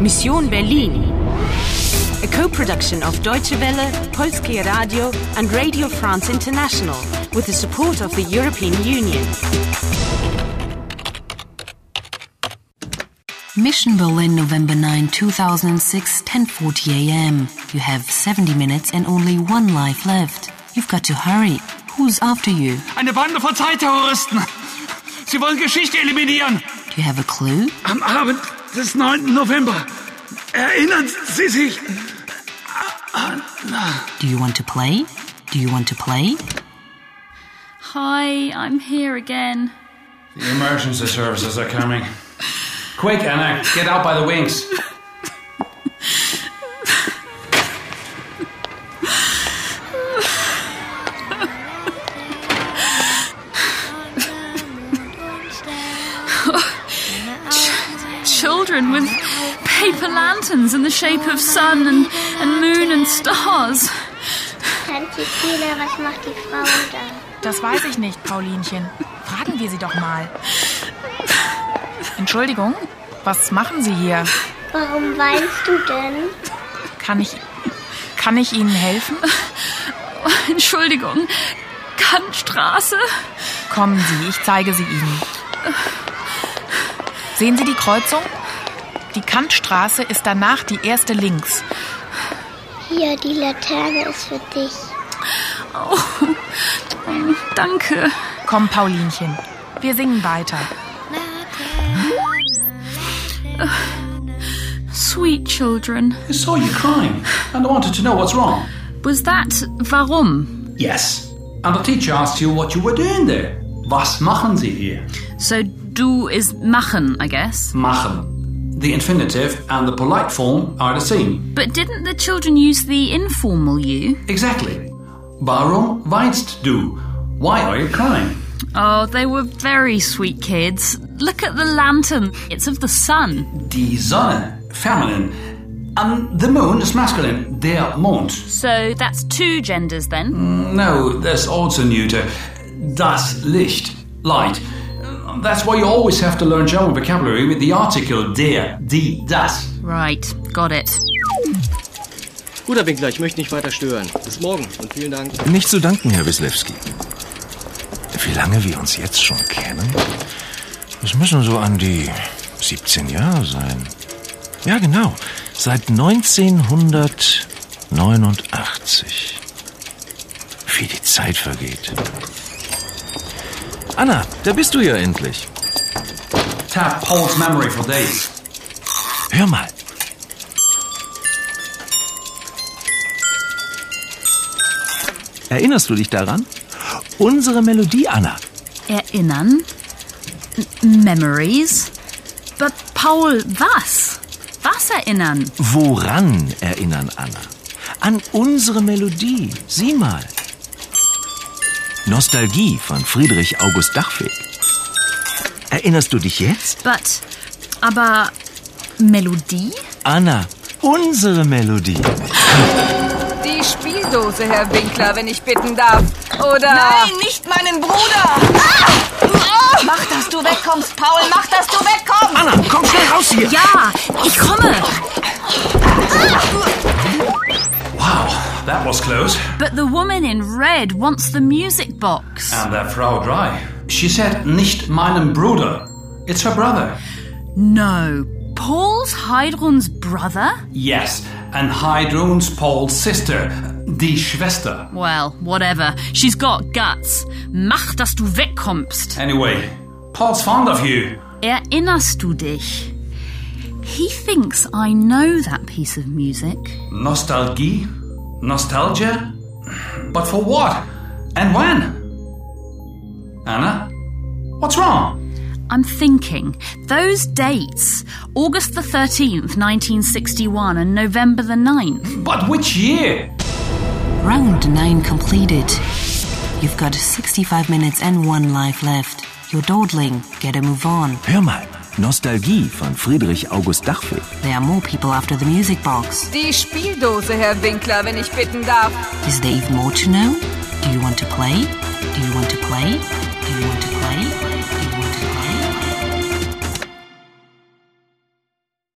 Mission Berlin. A co-production of Deutsche Welle, Polskie Radio and Radio France International with the support of the European Union. Mission Berlin, November 9, 2006, 10:40 a.m. You have 70 minutes and only one life left. You've got to hurry. Who's after you? Eine Bande von Zeitterroristen. Sie wollen Geschichte eliminieren. Do you have a clue? Am Abend des 9. November. Erinnern Sie sich? Do you want to play? Do you want to play? Hi, I'm here again. The emergency services are coming. Quick, Anna, get out by the wings. Children with paper lanterns in the shape of sun and, and moon and stars. Tante Tina, was macht die Frau da? Das weiß ich nicht, Paulinchen. Fragen wir sie doch mal. Entschuldigung, was machen Sie hier? Warum weinst du denn? Kann ich, kann ich Ihnen helfen? Entschuldigung, Kantstraße? Kommen Sie, ich zeige sie Ihnen. Sehen Sie die Kreuzung? Die Kantstraße ist danach die erste links. Hier, die Laterne ist für dich. Oh, danke. Komm, Paulinchen, wir singen weiter. Sweet children. I saw you crying and I wanted to know what's wrong. Was that warum? Yes. And the teacher asked you what you were doing there. Was machen Sie hier? So du is machen, I guess. Machen. The infinitive and the polite form are the same. But didn't the children use the informal you? Exactly. Warum weinst du? Why are you crying? Oh, they were very sweet kids. Look at the lantern. It's of the sun. Die Sonne, feminine. And the moon is masculine. Der Mond. So that's two genders then. No, there's also neuter. Das Licht, light. That's why you always have to learn German vocabulary with the article der, die, das. Right, got it. Guter Winkler, ich möchte nicht weiter stören. Bis morgen und vielen Dank. Nicht zu danken, Herr Wislewski. Wie lange wir uns jetzt schon kennen? Es müssen so an die 17 Jahre sein. Ja, genau. Seit 1989. Wie die Zeit vergeht. Anna, da bist du ja endlich. Tap Paul's memory for days. Hör mal. Erinnerst du dich daran? Unsere Melodie, Anna. Erinnern. M memories. But Paul, was? Was erinnern? Woran erinnern, Anna? An unsere Melodie. Sieh mal. Nostalgie von Friedrich August Dachweg. Erinnerst du dich jetzt? But, aber Melodie? Anna, unsere Melodie. Die Spieldose, Herr Winkler, wenn ich bitten darf. Oder. Nein, nicht meinen Bruder! Mach, dass du wegkommst, Paul, mach, dass du wegkommst! Anna, komm schnell raus hier. Ja, ich komme. Wow, that was close. But the woman in red wants the music box. And that Frau Dry. She said, nicht meinem Bruder. It's her brother. No, Paul's Heidrun's brother? Yes, and Heidrun's Paul's sister, die Schwester. Well, whatever. She's got guts. Mach, dass du wegkommst. Anyway, Paul's fond of you. Erinnerst du dich? He thinks I know that piece of music. Nostalgie? Nostalgia? But for what? And when? Anna? What's wrong? I'm thinking. Those dates August the 13th, 1961, and November the 9th. But which year? Round 9 completed. You've got 65 minutes and one life left. You're dawdling. Get a move on. Hör mal. Nostalgie von Friedrich August Dachweg. There are more people after the music box. Die Spieldose, Herr Winkler, wenn ich bitten darf. Is there even more to know? Do you want to play? Do you want to play? Do you want to play?